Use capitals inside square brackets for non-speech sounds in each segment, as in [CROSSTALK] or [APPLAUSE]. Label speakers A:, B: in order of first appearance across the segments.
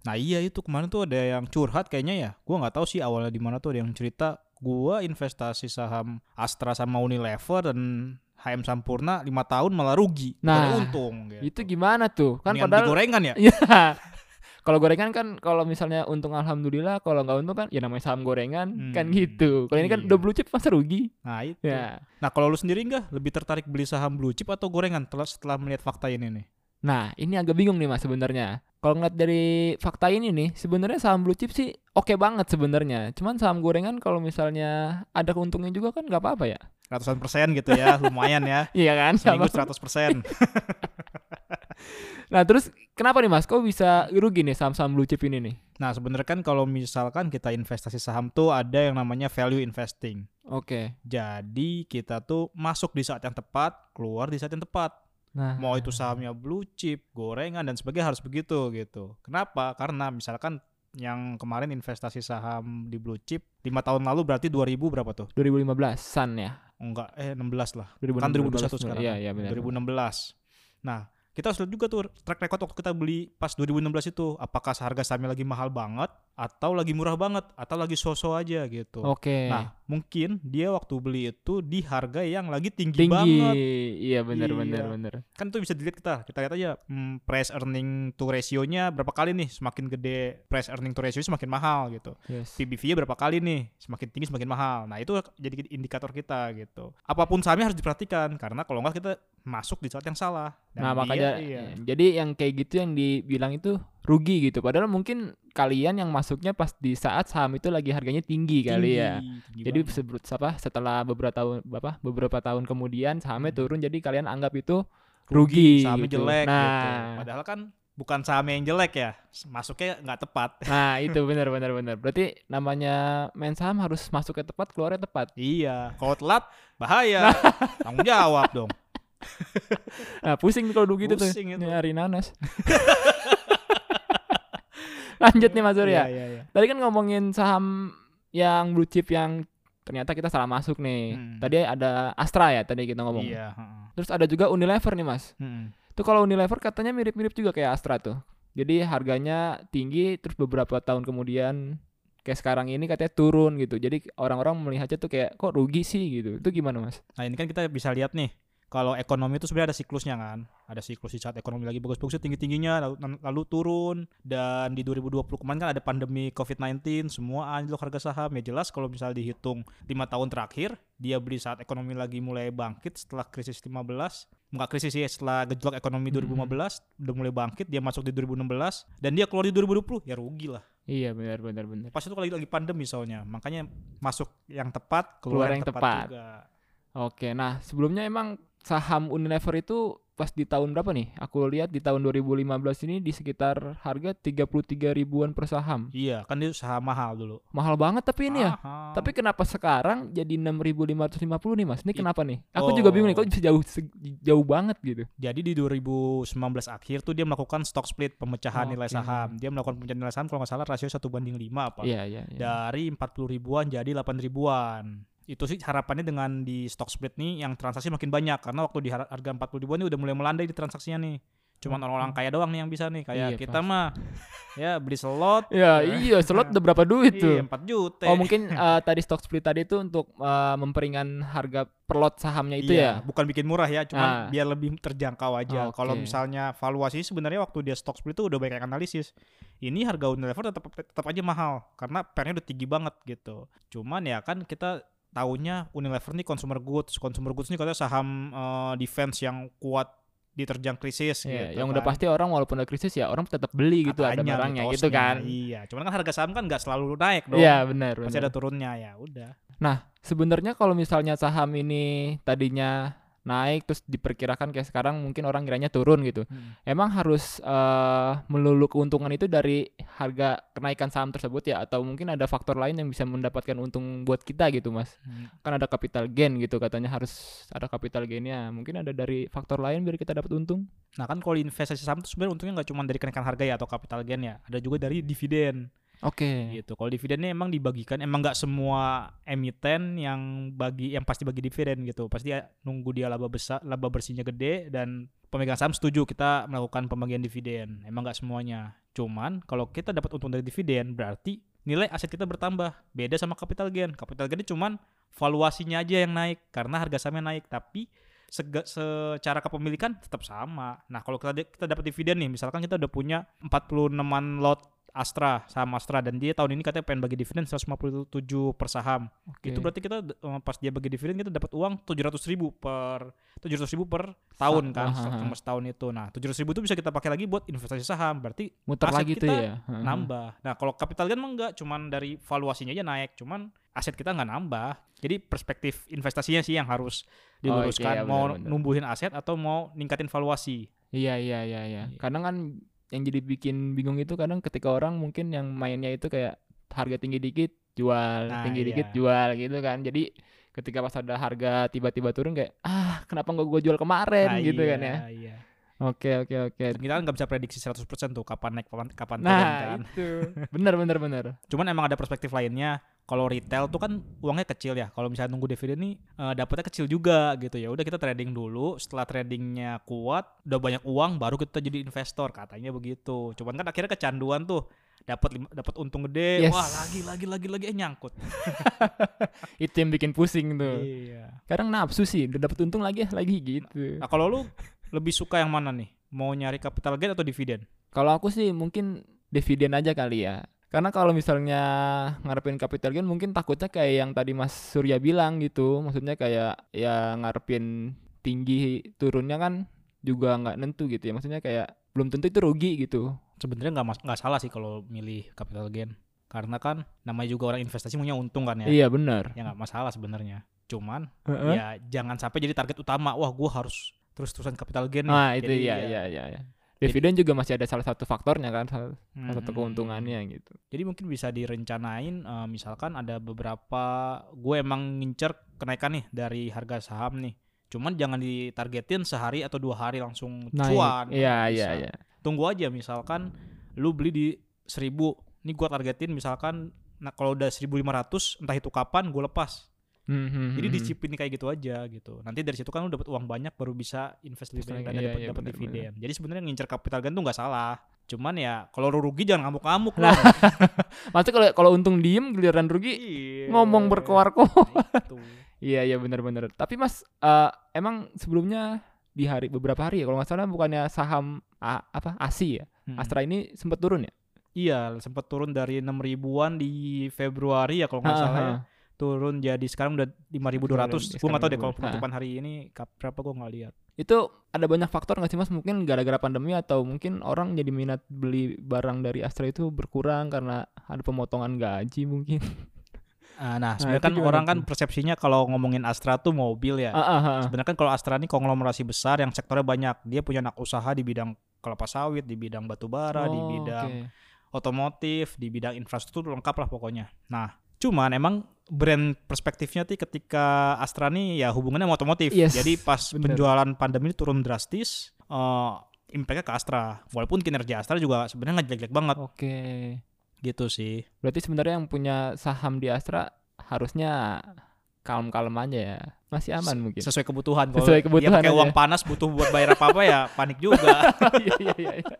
A: Nah iya itu kemarin tuh ada yang curhat kayaknya ya. Gua nggak tahu sih awalnya di mana tuh ada yang cerita gua investasi saham Astra sama Unilever dan HM Sampurna 5 tahun malah rugi,
B: Nah,
A: Nggak untung gitu.
B: Itu gimana tuh? Kan
A: Mendingan
B: padahal
A: beli gorengan ya?
B: [LAUGHS] Iya. Kalau gorengan kan kalau misalnya untung alhamdulillah, kalau nggak untung kan ya namanya saham gorengan kan
A: Hmm,
B: gitu. Kalau ini kan
A: iya.
B: udah blue chip masa rugi.
A: Nah itu.
B: Ya.
A: Nah kalau lu sendiri enggak lebih tertarik beli saham blue chip atau gorengan tel- setelah melihat fakta ini nih?
B: Nah, ini agak bingung nih Mas sebenarnya. Kalau ngeliat dari fakta ini nih, sebenarnya saham blue chip sih oke banget sebenarnya. Cuman saham gorengan kalau misalnya ada keuntungnya juga kan nggak apa-apa ya. [LAUGHS]
A: Ratusan persen gitu ya, lumayan ya.
B: Iya kan?
A: Seminggu 100 persen.
B: Nah, terus kenapa nih Mas kok bisa rugi nih saham-saham blue chip ini nih?
A: Nah sebenarnya kan kalau misalkan kita investasi saham tuh ada yang namanya value investing.
B: Oke.
A: Jadi kita tuh masuk di saat yang tepat, keluar di saat yang tepat.
B: Nah,
A: Mau itu sahamnya blue chip, gorengan dan sebagainya harus begitu gitu. Kenapa? Karena misalkan yang kemarin investasi saham di blue chip 5 tahun lalu berarti 2000 berapa tuh?
B: 2015-an ya.
A: Enggak, eh 16 lah.
B: 2016,
A: Kan 2021 sekarang.
B: Iya, iya benar.
A: 2016. Nah, kita harus lihat juga tuh track record waktu kita beli pas 2016 itu apakah harga sahamnya lagi mahal banget atau lagi murah banget atau lagi so-so aja gitu.
B: Oke.
A: Nah, mungkin dia waktu beli itu di harga yang lagi tinggi,
B: tinggi
A: banget.
B: iya benar benar
A: Iya.
B: benar
A: Kan itu bisa dilihat kita. Kita lihat aja hmm, price earning to ratio-nya berapa kali nih. Semakin gede price earning to ratio semakin mahal gitu.
B: yes
A: PBV-nya berapa kali nih? Semakin tinggi semakin mahal. Nah, itu jadi indikator kita gitu. Apapun sahamnya harus diperhatikan karena kalau nggak kita masuk di saat yang salah. Dan
B: nah
A: dia-
B: makanya
A: iya.
B: ya, jadi yang kayak gitu yang dibilang itu rugi gitu padahal mungkin kalian yang masuknya pas di saat saham itu lagi harganya tinggi, kali ya jadi
A: jadi
B: sebelum apa setelah beberapa tahun apa beberapa tahun kemudian sahamnya
A: Hmm.
B: turun jadi kalian anggap itu rugi,
A: sahamnya
B: gitu.
A: jelek gitu.
B: Nah.
A: Padahal kan bukan sahamnya yang jelek ya. Masuknya nggak tepat.
B: nah itu benar benar benar berarti namanya main saham harus masuknya tepat keluarnya tepat
A: Iya, kalau telat bahaya. Tanggung jawab
B: [LAUGHS]
A: dong.
B: Nah, pusing tuh kalau begitu tuh.
A: Pusing itu.
B: Nyari nanas. [LAUGHS] Lanjut nih Mas
A: Iya,
B: Surya.
A: iya, iya.
B: Tadi kan ngomongin saham yang blue chip yang ternyata kita salah masuk nih.
A: Hmm.
B: Tadi ada Astra ya tadi kita ngomong.
A: Iya, heeh. Hmm.
B: Terus ada juga Unilever nih Mas.
A: Mm-mm.
B: Tuh kalau Unilever katanya mirip-mirip juga kayak Astra tuh. Jadi harganya tinggi terus beberapa tahun kemudian kayak sekarang ini katanya turun gitu. Jadi orang-orang melihatnya tuh kayak kok rugi sih gitu. Itu gimana Mas?
A: Nah, ini kan kita bisa lihat nih. Kalau ekonomi itu sebenarnya ada siklusnya kan. Ada siklus di saat ekonomi lagi bagus-bagusnya tinggi-tingginya lalu, lalu turun dan di 2020 kemarin kan ada pandemi COVID-19, semua anjlok harga saham. Ya jelas kalau misalnya dihitung lima tahun terakhir, dia beli saat ekonomi lagi mulai bangkit setelah krisis 15, enggak krisis sih setelah gejolak ekonomi
B: Hmm.
A: 2015 udah mulai bangkit, dia masuk di 2016 dan dia keluar di 2020, ya rugi lah.
B: Iya benar benar benar.
A: Pas itu lagi lagi pandemi soalnya. Makanya masuk yang tepat, keluar,
B: Keluar
A: yang,
B: yang
A: tepat,
B: tepat.
A: juga.
B: Oke, nah sebelumnya emang saham Unilever itu pas di tahun berapa nih? Aku lihat di tahun 2015 ini di sekitar harga 33 ribuan per saham.
A: Iya, kan dia saham mahal dulu.
B: Mahal banget tapi ini ya.
A: Mahal.
B: Tapi kenapa sekarang jadi 6.550 nih Mas? Ini
A: It-
B: kenapa nih?
A: Oh.
B: Aku juga bingung nih, kok bisa jauh se- jauh banget gitu.
A: jadi di 2019 akhir tuh dia melakukan stock split pemecahan nilai
B: Oke.
A: saham. Dia melakukan pemecahan nilai saham kalau nggak salah rasio 1 banding 5 apa.
B: Iya, iya, iya.
A: Dari 40 ribuan jadi 8 ribuan. Itu sih harapannya dengan di stock split nih yang transaksi makin banyak karena waktu di har- harga 40 ribuan ini udah mulai melandai di transaksinya nih. Cuman
B: Oke.
A: orang-orang kaya doang nih yang bisa nih kayak
B: Hmm. Iya,
A: kita mah ya beli slot
B: Ya, iya, slot udah berapa duit
A: iya,
B: tuh?
A: 4 juta.
B: Oh, mungkin eh, tadi stock split tadi itu untuk eh, memperingan harga per lot sahamnya itu
A: iya,
B: ya.
A: bukan bikin murah ya,
B: Ah. Oh,
A: cuman biar lebih terjangkau aja.
B: Oke.
A: Kalau misalnya valuasi sebenarnya waktu dia stock split itu udah banyak yang analisis. Ini harga Unilever tetap tetap aja mahal karena pernya udah tinggi banget gitu. Cuman ya kan kita taunya Unilever nih consumer goods, consumer goods nih katanya saham eh, defense yang kuat diterjang krisis
B: Iya,
A: gitu.
B: yang udah
A: kan.
B: pasti orang walaupun ada krisis ya orang tetap beli gitu ada
A: Katanya
B: barangnya
A: mitosnya,
B: gitu kan.
A: Iya, cuman kan harga saham kan nggak selalu naik dong.
B: Iya benar.
A: Pasti
B: benar.
A: ada turunnya ya, udah.
B: Sebenarnya kalau misalnya saham ini tadinya naik terus diperkirakan kayak sekarang mungkin orang kiranya turun gitu. Emang harus eh, melulu keuntungan itu dari harga kenaikan saham tersebut ya atau mungkin ada faktor lain yang bisa mendapatkan untung buat kita gitu mas?
A: Hmm.
B: Kan ada capital gain gitu katanya harus ada capital gainnya. Mungkin ada dari faktor lain biar kita dapat untung.
A: Nah kan kalau investasi saham itu sebenarnya untungnya nggak cuma dari kenaikan harga ya atau capital gain ya, ada juga dari dividen
B: Oke.
A: gitu. Kalau dividennya emang dibagikan, emang nggak semua emiten yang bagi yang pasti bagi dividen gitu, pasti ya nunggu dia laba besar, laba bersihnya gede dan pemegang saham setuju kita melakukan pembagian dividen. Emang nggak semuanya, Cuman kalau kita dapat untung dari dividen berarti nilai aset kita bertambah. Beda sama capital gain. Capital gain cuman valuasinya aja yang naik karena harga sahamnya naik, tapi sega- secara kepemilikan tetap sama. Nah, kalau kita kita dapat dividen nih, misalkan kita udah punya 46-an lot Astra, saham Astra dan dia tahun ini katanya pengen bagi dividen 157 per saham.
B: Oke.
A: Itu berarti kita d- eh, pas dia bagi dividen kita dapat uang 700 ribu per 700 ribu per tahun kan
B: aha, aha.
A: selama setahun itu. Nah 700 ribu itu bisa kita pakai lagi buat investasi saham. Berarti
B: muter
A: aset
B: lagi
A: kita
B: tuh ya. Heeh.
A: nambah. Nah kalau capital gain mah enggak, cuman dari valuasinya aja naik, cuman aset kita nggak nambah. Jadi perspektif investasinya sih yang harus
B: Oh,
A: diluruskan.
B: iya,
A: mau
B: benar-benar.
A: numbuhin aset atau mau ningkatin valuasi.
B: Iya iya iya iya.
A: Iya.
B: Kadang kan yang jadi bikin bingung itu kadang ketika orang mungkin yang mainnya itu kayak harga tinggi dikit jual,
A: Nah,
B: tinggi
A: iya.
B: dikit jual gitu kan. Jadi ketika pas ada harga tiba-tiba turun kayak ah kenapa nggak gue jual
A: Nah,
B: kemarin gitu
A: iya,
B: kan ya.
A: Iya.
B: Oke oke oke.
A: Dan Kita kan nggak bisa prediksi 100% tuh kapan naik kapan, kapan turun
B: Nah
A: kan.
B: itu benar benar benar.
A: Cuman emang ada perspektif lainnya. Kalau retail tuh kan uangnya kecil ya. Kalau misalnya nunggu dividen nih eh, dapatnya kecil juga gitu ya. Udah kita trading dulu. Setelah tradingnya kuat, udah banyak uang, baru kita jadi investor katanya begitu. Cuman kan akhirnya kecanduan tuh dapat lim- dapat untung gede.
B: Yes.
A: Wah lagi lagi lagi lagi eh nyangkut.
B: Itu yang bikin pusing tuh.
A: Iya.
B: Kadang nafsu sih udah dapet untung lagi lagi gitu.
A: Nah kalau lu lebih suka yang mana nih? Mau nyari capital gain atau dividen?
B: Kalau aku sih mungkin dividen aja kali ya. Karena kalau misalnya ngarepin capital gain mungkin takutnya kayak yang tadi Mas Surya bilang gitu. Maksudnya kayak ya ngarepin tinggi turunnya kan juga nggak nentu gitu ya. Maksudnya kayak belum tentu itu rugi gitu.
A: Sebenarnya nggak mas- nggak salah sih kalau milih capital gain. Karena kan namanya juga orang investasi punya untung kan ya.
B: Iya benar.
A: Ya nggak masalah sebenarnya. Cuman
B: Heeh.
A: ya jangan sampai jadi target utama wah gue harus terus terusan capital gain nih.
B: Nah itu
A: Jadi
B: ya ya ya. ya. Dividen juga masih ada salah satu faktornya kan, salah
A: mm,
B: salah satu keuntungannya gitu.
A: jadi mungkin bisa direncanain eh, misalkan ada beberapa gue emang ngincer kenaikan nih dari harga saham nih cuman jangan ditargetin sehari atau dua hari langsung cuan Nah, Bisa.
B: Iya iya iya.
A: tunggu aja misalkan lu beli di 1000 ini gue targetin misalkan nah kalau udah 1500 entah itu kapan gue lepas
B: Hmm,
A: Jadi
B: hmm, hmm, hmm.
A: disiplin kayak gitu aja gitu. Nanti dari situ kan lu dapat uang banyak baru bisa invest lebih
B: Terus
A: banyak
B: lagi,
A: dan
B: iya,
A: dapat
B: iya,
A: dapat
B: benar,
A: dividen. Jadi sebenarnya ngincer capital gain tuh nggak salah. Cuman ya kalau lu rugi jangan ngamuk-ngamuk
B: Nah,
A: lah.
B: Maksudnya kalau kalau untung diem giliran rugi
A: Iya.
B: ngomong berkoar-koar.
A: Nah, [LAUGHS]
B: Iya iya benar-benar. Tapi Mas eh, emang sebelumnya di hari beberapa hari ya kalau nggak salah bukannya saham A- apa ASI ya Astra ini sempat turun ya?
A: Hmm. Iya, sempat turun dari 6 ribuan di Februari ya kalau nggak salah. ya.
B: Ah, ah.
A: Turun jadi sekarang udah 5.200.
B: Sekarang
A: Gue nggak tahu deh kalau
B: 5.200.
A: penutupan hari ini kap- berapa gue nggak lihat.
B: Itu ada banyak faktor nggak sih Mas? Mungkin gara-gara pandemi atau mungkin orang jadi minat beli barang dari Astra itu berkurang karena ada pemotongan gaji
A: [LAUGHS]
B: mungkin.
A: Ah, Nah, sebenarnya
B: itu
A: kan
B: gimana
A: orang
B: tuh?
A: kan persepsinya kalau ngomongin Astra tuh mobil ya.
B: Ah, ah, ah.
A: Sebenarnya kan kalau Astra ini konglomerasi besar yang sektornya banyak. Dia punya anak usaha di bidang kelapa sawit, di bidang batu bara, di
B: Oh,
A: bidang
B: oke.
A: otomotif, di bidang infrastruktur lengkap lah pokoknya. Nah, cuman emang brand perspektifnya ti ketika Astra ini ya hubungannya sama otomotif.
B: Yes,
A: Jadi pas
B: bener.
A: penjualan pandemi ini turun drastis, eh impact-nya ke Astra. Walaupun kinerja Astra juga sebenarnya nggak jelek-jelek banget
B: Oke.
A: gitu sih.
B: Berarti sebenarnya yang punya saham di Astra harusnya kalem-kalem aja ya. Masih aman
A: [LAUGHS]
B: mungkin. [LAUGHS]
A: Sesuai kebutuhan. Kalau
B: Iya. Sesuai
A: dia
B: kebutuhan
A: pakai
B: aja.
A: uang panas butuh buat bayar apa-apa ya panik juga.
B: Iya, iya, iya, iya.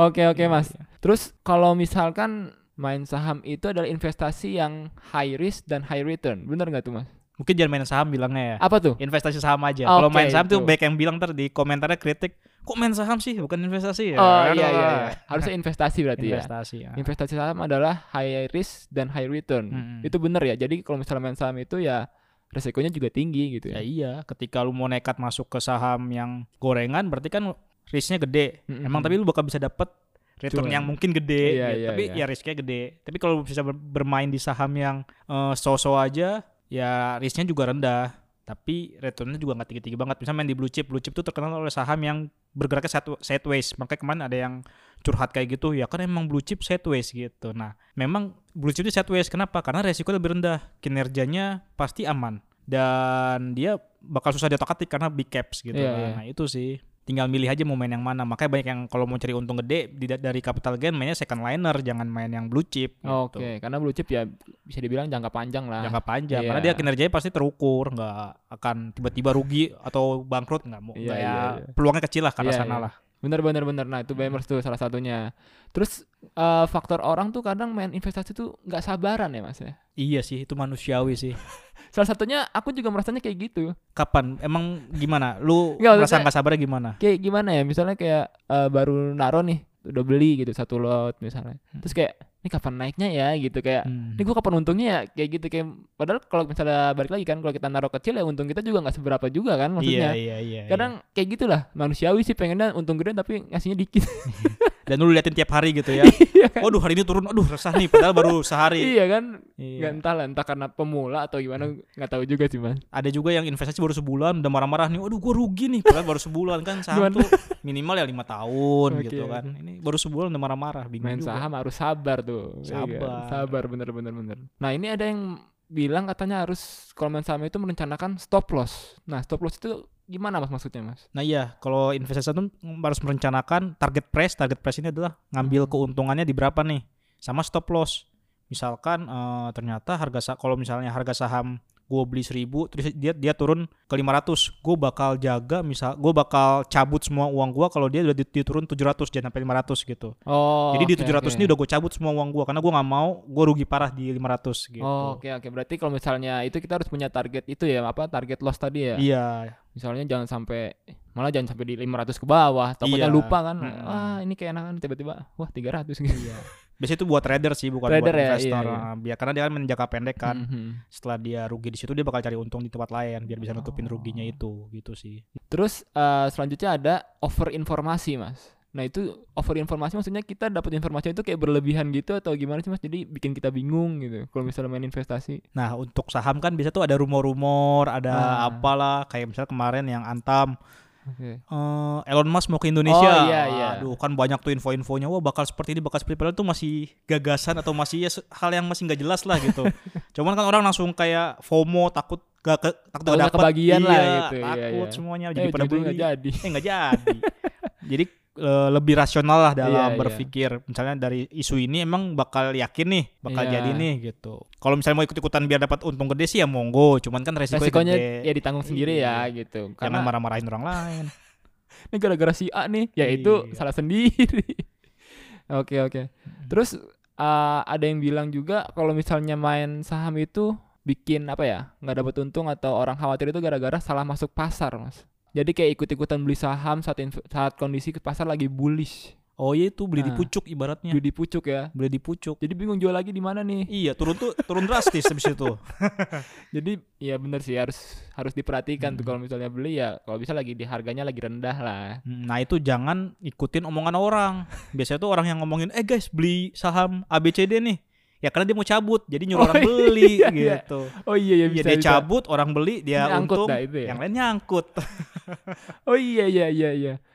B: Oke [LAUGHS] oke
A: Iya,
B: mas. Terus kalau misalkan main saham itu adalah investasi yang high risk dan high return, bener nggak tuh mas?
A: Mungkin jangan main saham bilangnya ya.
B: Apa tuh?
A: investasi saham aja.
B: Oke,
A: Kalau main saham tuh
B: itu.
A: baik yang bilang ntar di komentarnya kritik, kok main saham sih bukan investasi ya?
B: oh iya iya iya. Harusnya investasi berarti ya.
A: Investasi ya.
B: Investasi saham adalah high risk dan high return.
A: Mm-mm.
B: Itu bener ya. Jadi kalau misalnya main saham itu ya resikonya juga tinggi gitu
A: Ya
B: ya.
A: iya, ketika lu mau nekat masuk ke saham yang gorengan berarti kan risknya gede.
B: Mm-mm.
A: Emang tapi lu bakal bisa dapet return
B: Cuan.
A: yang mungkin gede,
B: Iya,
A: gitu.
B: iya,
A: tapi
B: iya.
A: ya risknya gede. Tapi kalau lu bisa ber- bermain di saham yang eh, so-so aja, ya risknya juga rendah. Tapi returnnya juga nggak tinggi-tinggi banget. Misalnya main di blue chip, blue chip tuh terkenal oleh saham yang bergeraknya satu sideways. Makanya kemarin ada yang curhat kayak gitu, ya kan emang blue chip sideways gitu. Nah, memang blue chip itu sideways. Kenapa? Karena resiko lebih rendah, kinerjanya pasti aman dan dia bakal susah diotak-atik karena big caps gitu.
B: Iya,
A: kan.
B: iya.
A: Nah, itu sih tinggal milih aja mau main yang mana. Makanya banyak yang kalau mau cari untung gede di- dari capital gain mainnya second liner, jangan main yang blue chip gitu.
B: Oke, karena blue chip ya bisa dibilang jangka panjang lah.
A: Jangka panjang
B: Iya.
A: karena dia kinerjanya pasti terukur, nggak akan tiba-tiba rugi atau bangkrut nggak mau.
B: Iya,
A: nggak
B: iya,
A: ya,
B: iya.
A: peluangnya kecil lah karena
B: Iya,
A: sana
B: iya.
A: lah.
B: Bener bener bener. Nah itu BMers tuh salah satunya. Terus eh, faktor orang tuh kadang main investasi tuh nggak sabaran ya mas ya.
A: Iya sih, itu manusiawi sih.
B: Salah satunya aku juga merasanya kayak gitu.
A: Kapan? Emang gimana? Lu
B: Nggak,
A: merasa
B: maksudnya-
A: nggak sabarnya gimana?
B: Kayak gimana ya? Misalnya kayak eh, baru naro nih udah beli gitu satu lot misalnya. Terus kayak ini kapan naiknya ya gitu kayak.
A: Hmm.
B: Ini gue kapan untungnya ya kayak gitu kayak padahal kalau misalnya balik lagi kan kalau kita naruh kecil ya untung kita juga nggak seberapa juga kan maksudnya.
A: Iya, iya, iya.
B: kadang kayak gitulah manusiawi sih pengennya untung gede tapi ngasihnya dikit
A: iya. dan lu liatin tiap hari gitu ya.
B: [LAUGHS] Iya kan?
A: Waduh, hari ini turun. Aduh, resah nih padahal
B: [LAUGHS]
A: baru sehari.
B: iya kan
A: Iya. Hmm.
B: nggak entah lah entah karena pemula atau gimana nggak tahu juga sih mas
A: Ada juga yang investasi baru sebulan udah marah-marah nih. Waduh, gua rugi nih padahal baru sebulan kan saham
B: Gimana?
A: tuh minimal ya lima tahun
B: Oke,
A: gitu kan. Ini baru sebulan udah marah-marah, bingung
B: main
A: juga.
B: saham harus sabar tuh Iya kan?
A: Sabar.
B: sabar bener bener bener nah ini ada yang bilang katanya harus kalau main saham itu merencanakan stop loss nah stop loss itu gimana mas maksudnya mas
A: Nah iya, kalau investasi itu harus merencanakan target price. Target price ini adalah
B: Hmm.
A: ngambil keuntungannya di berapa nih, sama stop loss. Misalkan eh, ternyata harga sa- kalau misalnya harga saham gue beli 1000 terus dia dia turun ke 500 gue bakal jaga misal gue bakal cabut semua uang gue kalau dia udah di- diturun 700 jangan sampai 500 gitu
B: oh
A: jadi di 700 ini udah gue cabut semua uang gue karena gue nggak mau gue rugi parah di 500 gitu
B: Oh, oke oke berarti kalau misalnya itu kita harus punya target itu ya apa target loss tadi ya
A: iya
B: misalnya jangan sampai malah jangan sampai di 500 ke bawah
A: Iya.
B: takutnya lupa kan
A: Mm-mm.
B: wah ini keenakan tiba-tiba wah 300 gitu
A: iya biasanya itu buat trader sih bukan
B: Trader
A: buat
B: ya, iya,
A: investor
B: iya.
A: Ah, biar karena dia kan main jangka pendek kan
B: [LAUGHS] Mhm.
A: setelah dia rugi di situ dia bakal cari untung di tempat lain biar bisa nutupin
B: Oh.
A: ruginya itu gitu sih
B: terus eh, selanjutnya ada over informasi mas nah itu over informasi maksudnya kita dapat informasi itu kayak berlebihan gitu atau gimana sih mas jadi bikin kita bingung gitu kalau misalnya main investasi
A: nah untuk saham kan biasa tuh ada rumor-rumor ada
B: Ah.
A: apalah kayak misalnya kemarin yang antam
B: oke
A: eh, Elon Musk mau ke Indonesia
B: Oh, iya, iya.
A: aduh kan banyak tuh info-infonya wah bakal seperti ini bakal seperti itu padahal tuh masih gagasan atau masih ya se- hal yang masih nggak jelas lah
B: [LAUGHS]
A: gitu cuman kan orang langsung kayak FOMO takut gak ke, takut
B: Takut
A: gak
B: gak
A: dapet.
B: kebagian
A: Iya,
B: lah gitu, iya,
A: takut
B: iya.
A: semuanya
B: Eh,
A: Oh, jadi pada
B: ujung-ujungnya
A: beli
B: nggak jadi
A: eh nggak jadi jadi eh, lebih rasional lah
B: Iya,
A: dalam
B: iya.
A: berpikir misalnya dari isu ini emang bakal yakin nih bakal
B: Iya.
A: jadi nih gitu kalau misalnya mau ikut ikutan biar dapat untung gede sih ya monggo cuman kan resikonya,
B: resikonya
A: gede Iya.
B: ya ditanggung sendiri ya gitu
A: jangan
B: karena
A: marah-marahin orang
B: [LAUGHS]
A: lain
B: ini gara-gara si A nih ya itu
A: Iya.
B: salah sendiri [LAUGHS] oke oke terus eh, ada yang bilang juga kalau misalnya main saham itu bikin apa ya nggak dapat untung atau orang khawatir itu gara-gara salah masuk pasar mas jadi kayak ikut-ikutan beli saham saat inv- saat kondisi ke pasar lagi bullish
A: oh iya itu beli di
B: Nah.
A: pucuk ibaratnya
B: beli di pucuk ya
A: beli di pucuk
B: jadi bingung jual lagi di mana nih
A: iya turun tuh turun drastis habis itu
B: jadi ya bener sih harus harus diperhatikan tuh
A: Hmm.
B: kalau misalnya beli ya kalau bisa lagi di harganya lagi rendah lah
A: Hmm, nah itu jangan ikutin omongan orang biasanya tuh orang yang ngomongin eh guys beli saham ABCD nih ya karena dia mau cabut jadi nyuruh
B: Oh,
A: orang beli
B: iya, iya.
A: gitu
B: oh iya ya
A: Iya,
B: bisa
A: dia
B: bisa.
A: cabut orang beli dia
B: Ini angkut
A: untung
B: dah itu ya.
A: yang lain nyangkut
B: Oh iya iya iya iya.